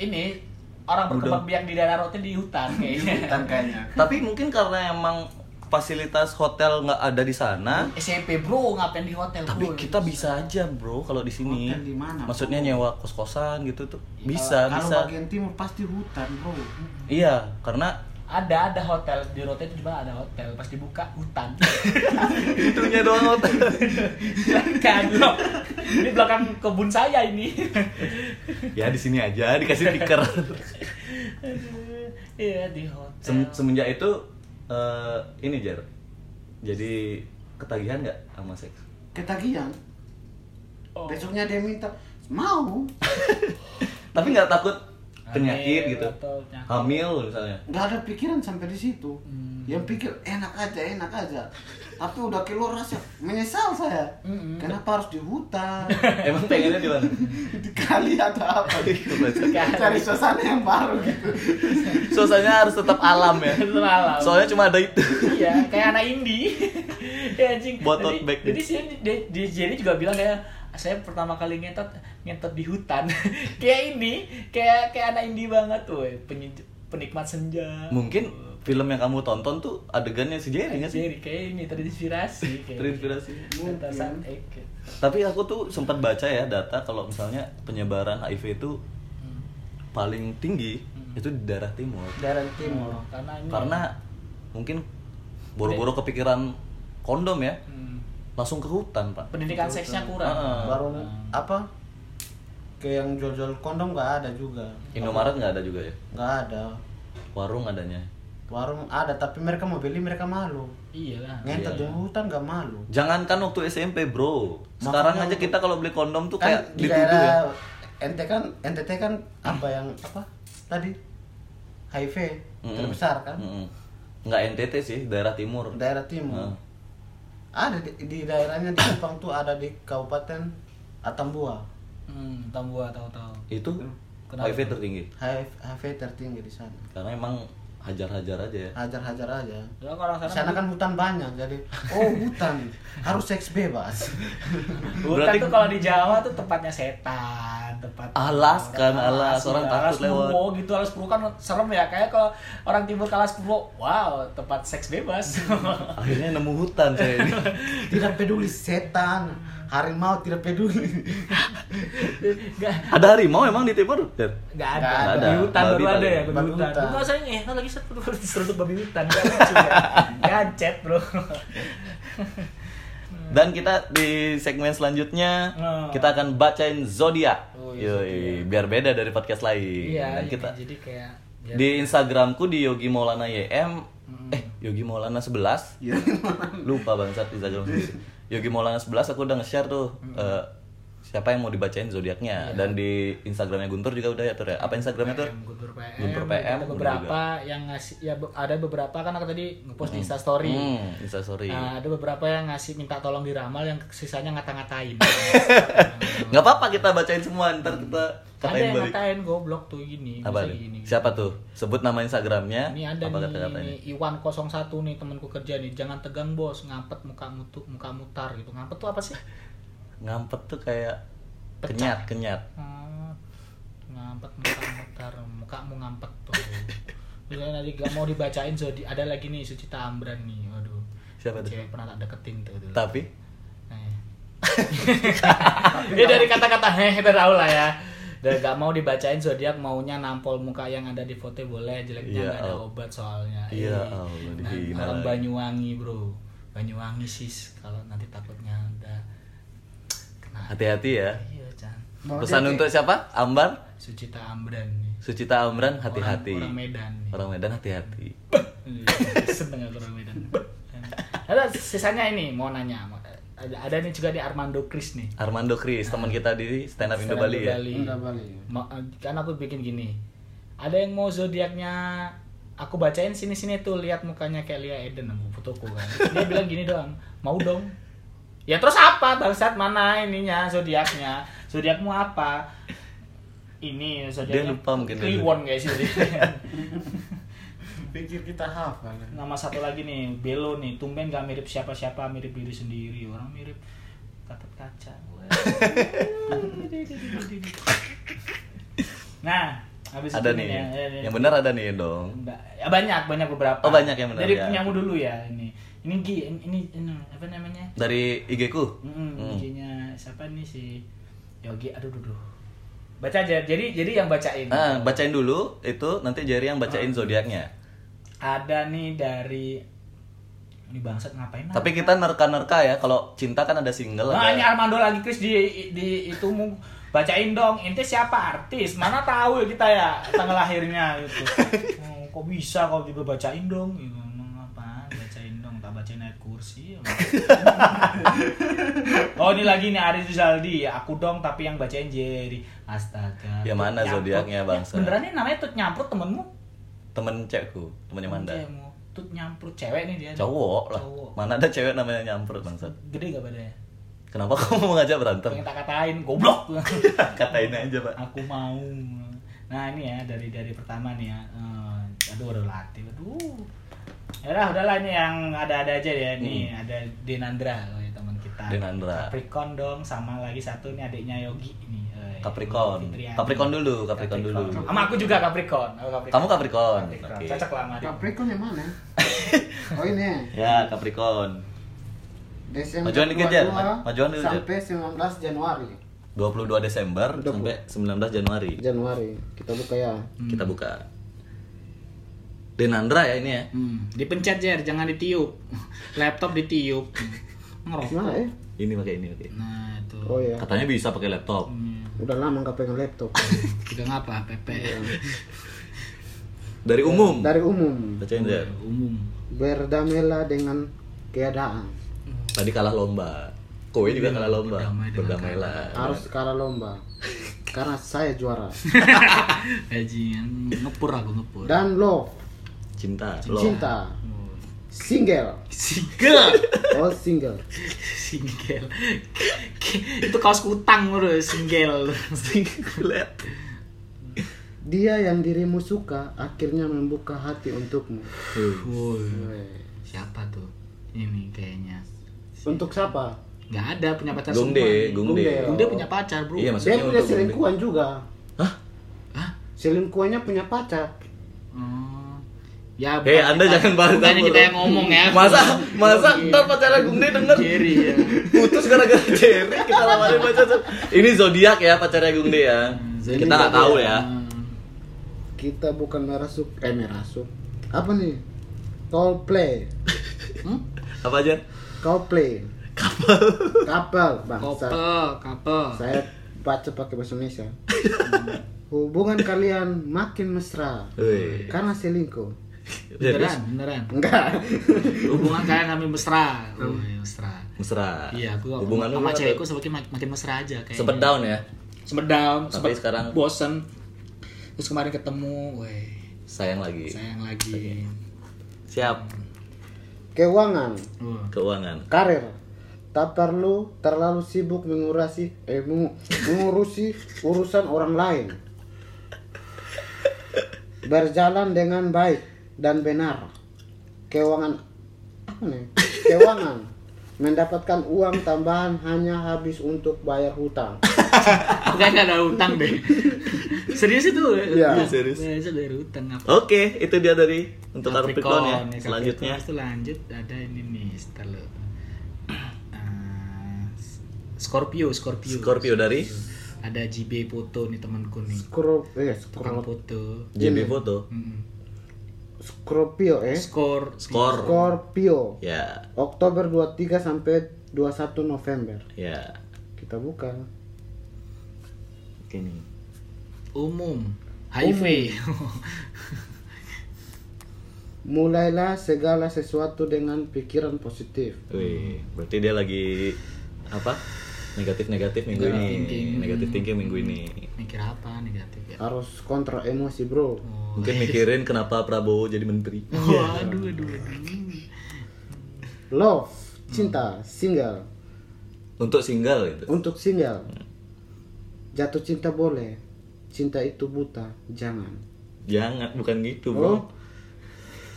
Ini orang berkembang biak di daerah Rote di hutan di kayaknya. hutan kan. kayaknya tapi mungkin karena emang fasilitas hotel nggak ada di sana. SMP bro ngapain di hotel Tapi bro? kita bisa aja bro kalau di sini. Hotel di mana, bro? Maksudnya nyewa kos kosan gitu tuh bisa kalau bisa. bagian timur pasti hutan bro Iya karena Ada ada hotel di Rote itu cuma ada hotel pas dibuka hutan. itunya doang hotel. Silakan loh. Ini belakang kebun saya ini. ya di sini aja dikasih tikar. Aduh, Iya di hotel. Sem- semenjak itu eh, ini jar. Jadi ketagihan nggak sama seks? ketagihan Oh. besoknya dia minta mau Tapi nggak takut Hamil penyakit gitu. atau penyakit. Hamil misalnya. nggak ada pikiran sampai di situ Hmm. yang pikir enak aja enak aja tapi udah keluar rasa menyesal saya Mm-mm. kenapa harus di hutan Emang pengennya di mana? di kali atau apa gitu cari suasana yang baru gitu Suasananya harus tetap alam ya. Tetap alam. Soalnya cuma ada itu. iya kayak anak indie ya anjing Buat tote Jadi- bag jadi sih dia, dia- dia juga bilang kayak saya pertama kali ngetot ngentot di hutan kayak ini kayak kayak anak indie banget tuh penikmat senja Mungkin film yang kamu tonton tuh adegannya si Jerry nggak sih? Jadi kayak ini terinspirasi kayak Terinspirasi. Kata Sam Eke. Tapi aku tuh sempat baca ya data kalau misalnya penyebaran HIV itu Hmm. paling tinggi itu di daerah timur. daerah Timur timur Oh, karena ini Karena mungkin boro-boro kepikiran kondom ya, Hmm. langsung ke hutan, Pak. pendidikan seksnya kurang Ah. baru apa ke yang jual-jual kondom nggak ada juga Indomaret nggak ada juga ya? nggak ada Warung adanya. warung ada tapi mereka mau beli mereka malu iyalah ngentot Iya, di hutan nggak malu Jangankan waktu SMP, Bro. Sekarang aja Makanya kita kalau beli kondom tuh kan kayak di dituduh ya. daerah NT kan NTT kan apa yang apa tadi HIV Mm-mm. terbesar kan Mm-mm. Nggak NTT sih, daerah timur. daerah timur Hmm. Ah. ada di, di daerahnya di Kupang tuh ada di Kabupaten Atambua hmm, tambua tahu-tahu Itu Kenapa? HIV tertinggi. HIV, HIV tertinggi di sana Karena emang hajar-hajar aja ya. hajar-hajar aja Soalnya Ya, kalau orang di sana sana kan hutan banyak jadi oh hutan harus seks bebas Hutan Berarti- tuh kalau di Jawa tuh tempatnya setan, tempat Alas kan, alas. iya, Orang takut alas Purwo lewat. gitu, alas purwo kan serem ya. Kayak kalau orang timur ke alas purwo, wow, tempat seks bebas. Akhirnya nemu hutan saya ini. tidak peduli setan harimau tidak peduli Gak, Ada harimau emang di timur? Der? gak ada. Nggak ada. Babi hutan Babi baru ada paling. ya, babi, Babi hutan. hutan. Lu rasanya nih, kan lagi satu seruduk babi hutan. Gak lucu ya. Gancet bro. Hmm. Dan kita di segmen selanjutnya Nah. kita akan bacain zodiak. Oh, iya, Yoi, biar beda dari podcast lain. Iya, Dan ini kita jadi kayak ya, biar- di Instagramku di Yogi Maulana YM Hmm. eh Yogi Maulana 11. Iya. Lupa bangsat Instagram sendiri. Yogi Maulana 11 aku udah nge-share tuh Hmm. eh, siapa yang mau dibacain Iya. zodiaknya dan di Instagramnya Guntur juga udah ya Tur ya. Apa Instagramnya Tur? PM, Guntur PM, Guntur PM, ada udah beberapa yang ngasih ya be- ada beberapa kan aku tadi ngepost di instastory Hmm, Insta sorry. Nah, ada beberapa yang ngasih minta tolong diramal yang sisanya ngata-ngatain. Nggak apa-apa kita bacain semua ntar kita ada katain yang balik. ngatain goblok tuh gini, Apa bisa nih? gini. Siapa tuh? Sebut nama Instagramnya. Ini ada apa nih, kata-katanya? nih, Iwan 01 nih temanku kerja nih. Jangan tegang bos, ngampet muka mutu, muka mutar gitu. Ngampet tuh apa sih? Ngampet tuh kayak kenyat kenyat. Hmm, ngampet muka mutar, mukamu ngampet tuh. Terus nanti gak mau dibacain Zodi. Ada lagi nih Sucita Ambran nih. Waduh. Siapa tuh? Cewek pernah tak deketin tuh. gitu. tuh. Tapi ya dari kata-kata heh kita tahu lah ya. Dan gak mau dibacain zodiak maunya nampol muka yang ada di foto boleh jeleknya Iya, nggak ada Allah. obat soalnya. Iya, Eh, Allah, nah, dihina orang lagi. Banyuwangi bro, Banyuwangi sis kalau nanti takutnya ada kena. hati-hati ya. Iya Chan. Mau Pesan dia- untuk siapa? Ambar, Sucita Ambran nih. Sucita Orang- Amran, hati-hati. Orang, Medan nih. Iya, Orang Medan hati-hati. Seneng aku orang Medan. Ada sisanya ini mau nanya. mau- Ada, ada nih juga di Armando Chris nih. Armando Kris, teman kita di stand up Indo Stand Up Bali ya. Indo Bali. Ma- kan aku bikin gini. Ada yang mau zodiaknya aku bacain sini-sini tuh lihat mukanya kayak Lia Eden sama fotoku kan. Dia bilang gini doang, mau dong. Ya terus apa bangsat mana ininya zodiaknya? Zodiakmu apa? Ini zodiaknya. Dia lupa mungkin. Kliwon guys ini. pikir kita hafal Nama satu lagi nih, Belo nih. Tumben gak mirip siapa-siapa, mirip diri sendiri. Orang mirip katut kaca. nah, habis Ada itu nih. ya, ya, ya. Yang benar ada nih dong. Ba- ya, banyak, banyak beberapa. Oh, banyak yang benar, Dari ya. punyamu dulu ya ini. Ini Gi, ini, ini, ini apa namanya? Dari IG ku. Mm-mm, Hmm. IG-nya siapa nih si Yogi? Aduh, duh, duh. Baca aja. Jadi jadi yang bacain. Ah, bacain dulu itu nanti Jerry yang Ah. bacain zodiaknya. Ada nih dari ini bangsat ngapain? Tapi kita nerka-nerka ya. Kalau cinta kan ada single. Nah, ini Ada... Armando lagi Chris di di itu mu bacain dong. Ente siapa artis? Mana tahu ya kita ya tanggal lahirnya gitu. Oh, kok bisa kalau tiba bacain dong? Gitu. Emang apaan? Bacain dong, tak bacain ayat kursi. oh, ini lagi nih Aris Rizaldi. Aku dong tapi yang bacain Jerry. Astaga. Ya, Tut mana Nyamprut. zodiaknya, bangsa? Beneran nih namanya Tut Nyamprut temenmu? Temen cewekku, temennya Manda. Cewekmu. Tut Nyamprut cewek nih dia. Cowok lah. Cowok. Mana ada cewek namanya nyamper bangsat. Gede gak badannya? Kenapa kamu mau ngajak berantem? Pengen tak katain, goblok. Katain aja, Pak. aku mau nah ini ya dari dari pertama nih ya Eh, aduh udah latih aduh ya udah udahlah ini yang ada-ada aja ya ini ada Denandra oh ya teman kita Hmm. Denandra. Capricorn dong sama lagi satu nih adiknya Yogi ini Eh, Capricorn. Fitriani. Capricorn dulu, Capricorn dulu. Sama aku juga Capricorn. Aku Capricorn. Kamu Capricorn. Capricorn. Oke. Cocok lah sama dia. Capricorn yang mana? oh ini ya. Ya, Capricorn. Desember Majuan dikit, Jan. 22 Majuan dulu, Jan. sampai 19 Januari. 22 Desember Udah, Bu. sampai 19 Januari. Januari kita buka ya. Hmm. Kita buka. Denandra ya ini ya. Hmm, dipencet Jer, jangan ditiup. Laptop ditiup. Ngerokok. Gimana ya? Ini pakai ini pakai. Nah, itu. Oh ya. Katanya bisa pakai laptop. Hmm, Udah lama nggak pegang laptop. Kita ngapa, Pepe? Iya. Dari umum. Dari umum Bacain Zer. Umum. berdamailah dengan keadaan. Tadi kalah lomba. Kowe juga kalah lomba. Iya, Berdamai dengan Berdamailah. Harus kalah lomba karena saya juara. Gaji ngepur aku ngepur. Dan love Cinta. Lo. cinta single Single. all single Single. itu kaos kutang bro, single. Lihat. dia yang dirimu suka akhirnya membuka hati untukmu Woi. Weh. Siapa tuh? Ini kayaknya. untuk siapa Nggak ada punya pacar Gungde, semua. gungde. Gungde. Gungde punya pacar, Bro. Iya, dia maksudnya punya untuk Gungde. selingkuhan juga Hah? Hah? selingkuhannya punya pacar Oh. Ya, Hei, bukan Eh, Anda kita- jangan bahas bukannya campur. kita yang ngomong ya. Masa masa entar pacaran Gungde denger Jerry ya. putus gara-gara Jerry kita lawanin baca tuh. Ini zodiak ya pacarnya Gungde ya. Zodiak. Kita nggak tahu kan. ya. kita bukan merasuk eh merasuk apa nih kau play Hmm? Apa aja? kau play kapal kapal bangsa Couple, couple. saya baca pakai bahasa Indonesia hubungan kalian makin mesra Wih. karena selingkuh Jadi Beneran, beneran. enggak Hubungan kalian kami mesra. Woi, mesra. mesra. Iya, aku Hmm. hubungan lu sama apa? cewekku semakin makin mesra aja kayak. sempet down ya. sempet down, Tapi sempet sekarang- bosen. Terus kemarin ketemu, weh, Sayang lagi. sayang Iya. lagi. Siap. keuangan Wah. Keuangan. karir tak perlu terlalu sibuk mengurusi eh mengu- mengurusi urusan orang lain berjalan dengan baik dan benar keuangan apa nih? keuangan mendapatkan uang tambahan hanya habis untuk bayar hutang Bukan nggak ada utang deh. serius itu? Iya, utang. serius. Serius ada utang apa? Oke, itu dia dari untuk Capricorn ya. Selanjutnya itu lanjut ada ini nih, setelah lu. Eh, Scorpio, Scorpio. Scorpio dari Iya. Ada JB foto nih temanku nih. Skro, eh, Tukang skro, foto. JB Foto. Mm. Scorpio eh Skor. Skor. Scorpio Ya, Oktober 23 sampai 21 November ya. kita buka Oke nih. Umum. HIV. mulailah segala sesuatu dengan pikiran positif Wih, berarti dia lagi apa? Negatif-negatif minggu Negatif ini. thinking. Negatif thinking minggu ini. Mikir apa negatif ya? harus kontrol emosi bro Oh. Mungkin mikirin kenapa Prabowo jadi menteri. Iya. Waduh, aduh, aduh. love cinta single Untuk single gitu. untuk single jatuh cinta boleh cinta itu buta jangan Jangan, bukan gitu, Bro. Oh.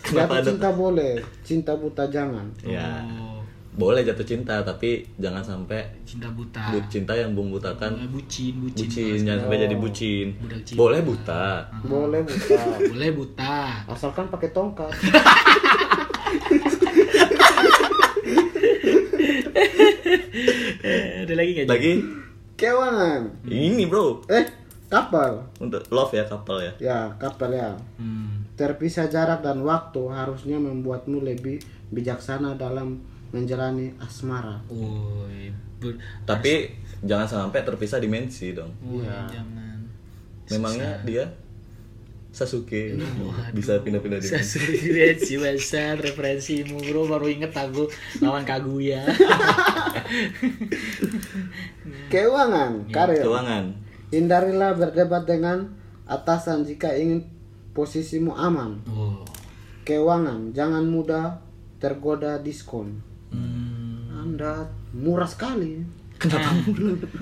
Kenapa jatuh ada cinta boleh cinta buta jangan Ya, Oh, boleh jatuh cinta tapi jangan sampai cinta buta. bu- cinta yang membutakan Eh, bucin, Ah. bucin. ya. Oh. bucin, jangan sampai jadi bucin. Budak cinta. Boleh buta. boleh buta Boleh buta. asalkan pakai tongkat Eh, Ada lagi nggak? Ji? Lagi kewanan ini, Bro. eh kapal Untuk love ya couple ya. ya kapal ya Hmm. terpisah jarak dan waktu harusnya membuatmu lebih bijaksana dalam menjalani asmara Woi, ber- Tapi jangan sampai terpisah dimensi dong. woi, Iya. jangan. Memangnya dia Sasuke Waduh. bisa pindah-pindah di Saya suruh lihat sih besar referensimu bro baru inget aku lawan Kaguya. keuangan Iya, karir keuangan. Hindarilah berdebat dengan atasan jika ingin posisimu aman. Oh. Keuangan, jangan mudah tergoda diskon. hmm. Anda murah sekali. Kenapa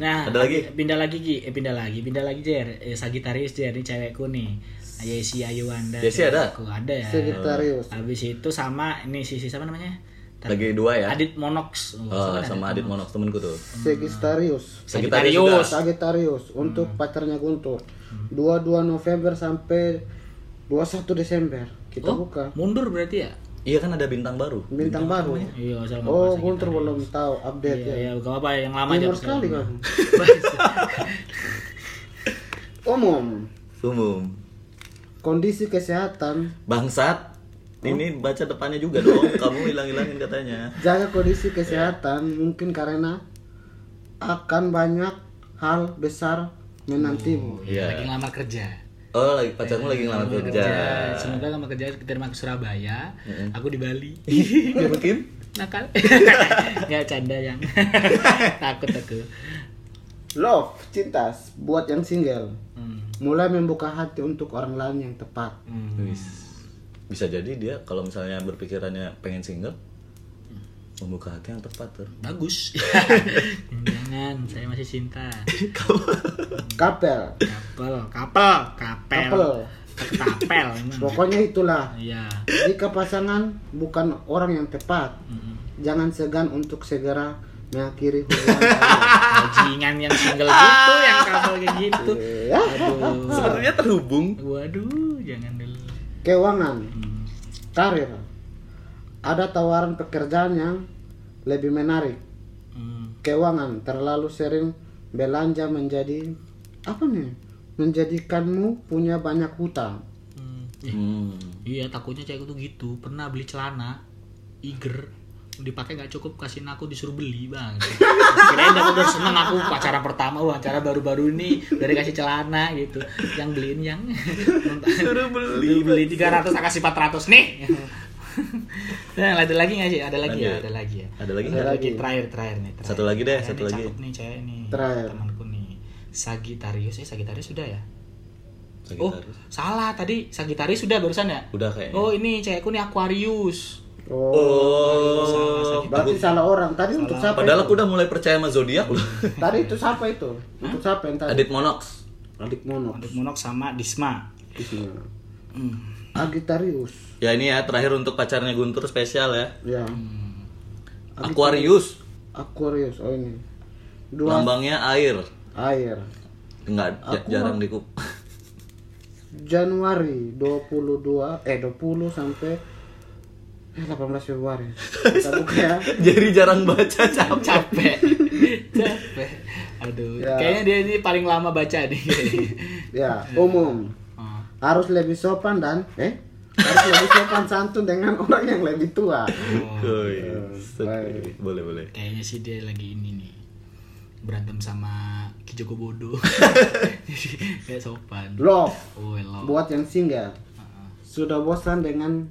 Nah, Ada lagi? Pindah lagi Ki, eh, pindah lagi, pindah lagi Jer. Eh, Sagitarius Jer, ini cewekku nih. Yesi Ayu Wanda. Yesi ada? cewekku. Ada ya. Sagitarius. Habis itu sama ini si si siapa namanya? Lagi dua ya. Adit Monox. Oh, Eh, siapa nih sama Adit Monox temenku tuh. Sagittarius Sagittarius Sagittarius. juga. Sagittarius Hmm. untuk pacarnya Guntur 22 November sampai 21 Desember kita Oh, buka mundur berarti ya? Iya kan ada bintang baru. bintang baru Iya, sama oh Sagittarius. Guntur belum tahu update Iya, ya iya, gak apa-apa yang lama aja. Gamer sekali kamu umum Umum. kondisi kesehatan Bangsat. Ini baca depannya juga dong. Kamu hilang-hilangin katanya. jaga kondisi kesehatan mungkin karena akan banyak hal besar menantimu Iya, Iya. lagi ngelamar kerja. Oh, lagi pacarmu lagi ngelamar kerja. Semoga lama kerja diterima ke Surabaya, aku di Bali. Ya mungkin. Nakal. Enggak canda yang. Takut aku. love cinta buat yang single Hmm. mulai membuka hati untuk orang lain yang tepat Hmm. Wis. Bisa jadi dia kalau misalnya berpikirannya pengen single, Hmm. membuka hati yang tepat tuh. Bagus. Jangan, saya masih cinta. kapel Kapel, kapel, kapel. Kapel. Kapel emang. pokoknya itulah Iya. jika pasangan bukan orang yang tepat Mm-mm. jangan segan untuk segera mengakhiri hubungan kalian. Bajingan yang single gitu, yang kapel kayak gitu. Iya. Aduh. Sepertinya terhubung. Waduh, jangan dulu. keuangan Hmm. karir ada tawaran pekerjaan yang lebih menarik Hmm. keuangan terlalu sering belanja menjadi apa nih menjadikanmu punya banyak hutang Hmm. Ih, Hmm. Iya takutnya cewek tuh gitu pernah beli celana iger dipakai nggak cukup kasihin aku disuruh beli bang kirain aku udah seneng aku acara pertama wah acara baru-baru ini dari kasih celana gitu yang beliin yang suruh beli beli 300 aku kasih 400 nih nah, ada lagi nggak sih ada lagi ya Lanjut. ada lagi ya Ada lagi ada nggak? lagi lagi. terakhir terakhir nih terakhir. Satu lagi deh, Terakhir satu nih, lagi. cakep nih cewek nih Terakhir. temanku nih Sagitarius eh Sagitarius sudah ya Oh, Sagittarius. salah tadi Sagitarius sudah barusan ya? Udah kayaknya. Oh ini cewekku nih Aquarius. oh, Oh, berarti salah orang tadi untuk siapa padahal itu? aku udah mulai percaya sama zodiak loh. tadi itu siapa itu untuk siapa yang tadi Adit Monox. adik mono Untuk Monok sama Disma. Bismillah. Hmm. Agitarius Ya ini ya terakhir untuk pacarnya Guntur spesial ya. ya Aquarius, Aquarius oh ini dua lambangnya air. air Enggak ja- jarang dikup. Januari 22 eh 20 sampai eh, 18 Februari kita buka ya Jadi jarang baca cap. Capek. Capek. Aduh. Ya. Kayaknya dia ini paling lama baca nih. ya umum Oh. harus lebih sopan dan eh harus lebih sopan santun dengan orang yang lebih tua Oh, iya. Baik. Boleh boleh. Kayaknya sih dia lagi ini nih berantem sama Ki Joko Bodoh. Jadi kayak sopan. love Oh, Uh-uh. hello. buat yang single sudah bosan dengan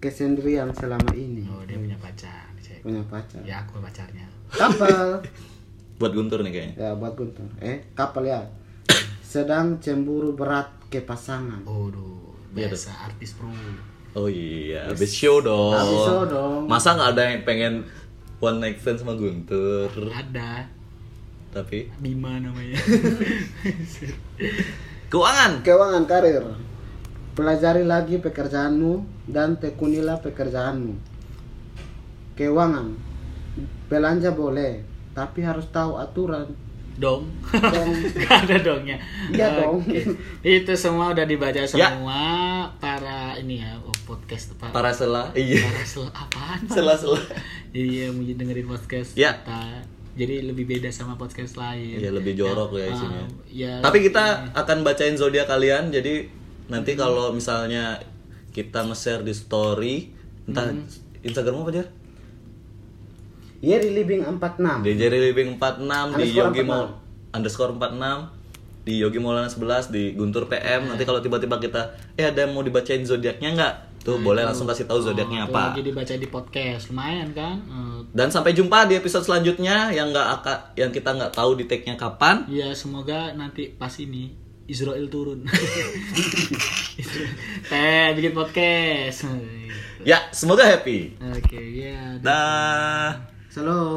kesendirian selama ini Oh, dia punya pacar. cewek. punya pacar Ya aku pacarnya. kapal Buat Guntur nih kayaknya. ya buat Guntur eh kapal ya sedang cemburu berat ke pasangan Oh, duh. Iya, Biasa artis pro. Oh iya, habis show dong. Habis show dong. Masa nggak ada yang pengen one night stand sama Guntur? Ada Tapi Bima namanya. keuangan. keuangan karir pelajari lagi pekerjaanmu dan tekunilah pekerjaanmu keuangan belanja boleh tapi harus tahu aturan dong. Dong. Gak ada dongnya. Iya dong. Oke. Itu semua udah dibaca Ya. semua para ini ya oh, podcast para, Para sela. Iya. para sel apaan? Sela-sela. Iya, mau dengerin podcast Ya. kita. Jadi lebih beda sama podcast lain. Iya, lebih jorok Ah, ya isinya. ya, Tapi kita akan bacain zodiak kalian. Jadi nanti kalau misalnya kita nge-share di story, entah Instagrammu apa Jer? Yeri Living 46 Di Jerry Living 46 di Underscore Yogi Mau underscore 46 di Yogi Maulana 11 di Guntur PM. Nanti kalau tiba-tiba kita eh ada yang mau dibacain zodiaknya nggak? Tuh boleh langsung kasih tahu zodiaknya itu apa. Lagi dibaca di podcast, lumayan kan? Eh, Dan sampai jumpa di episode selanjutnya yang nggak akan yang kita nggak tahu di tag-nya kapan. Iya, semoga nanti pas ini Israel turun. Teh bikin podcast. Ya, semoga happy. Oke, ya. Dah. Salam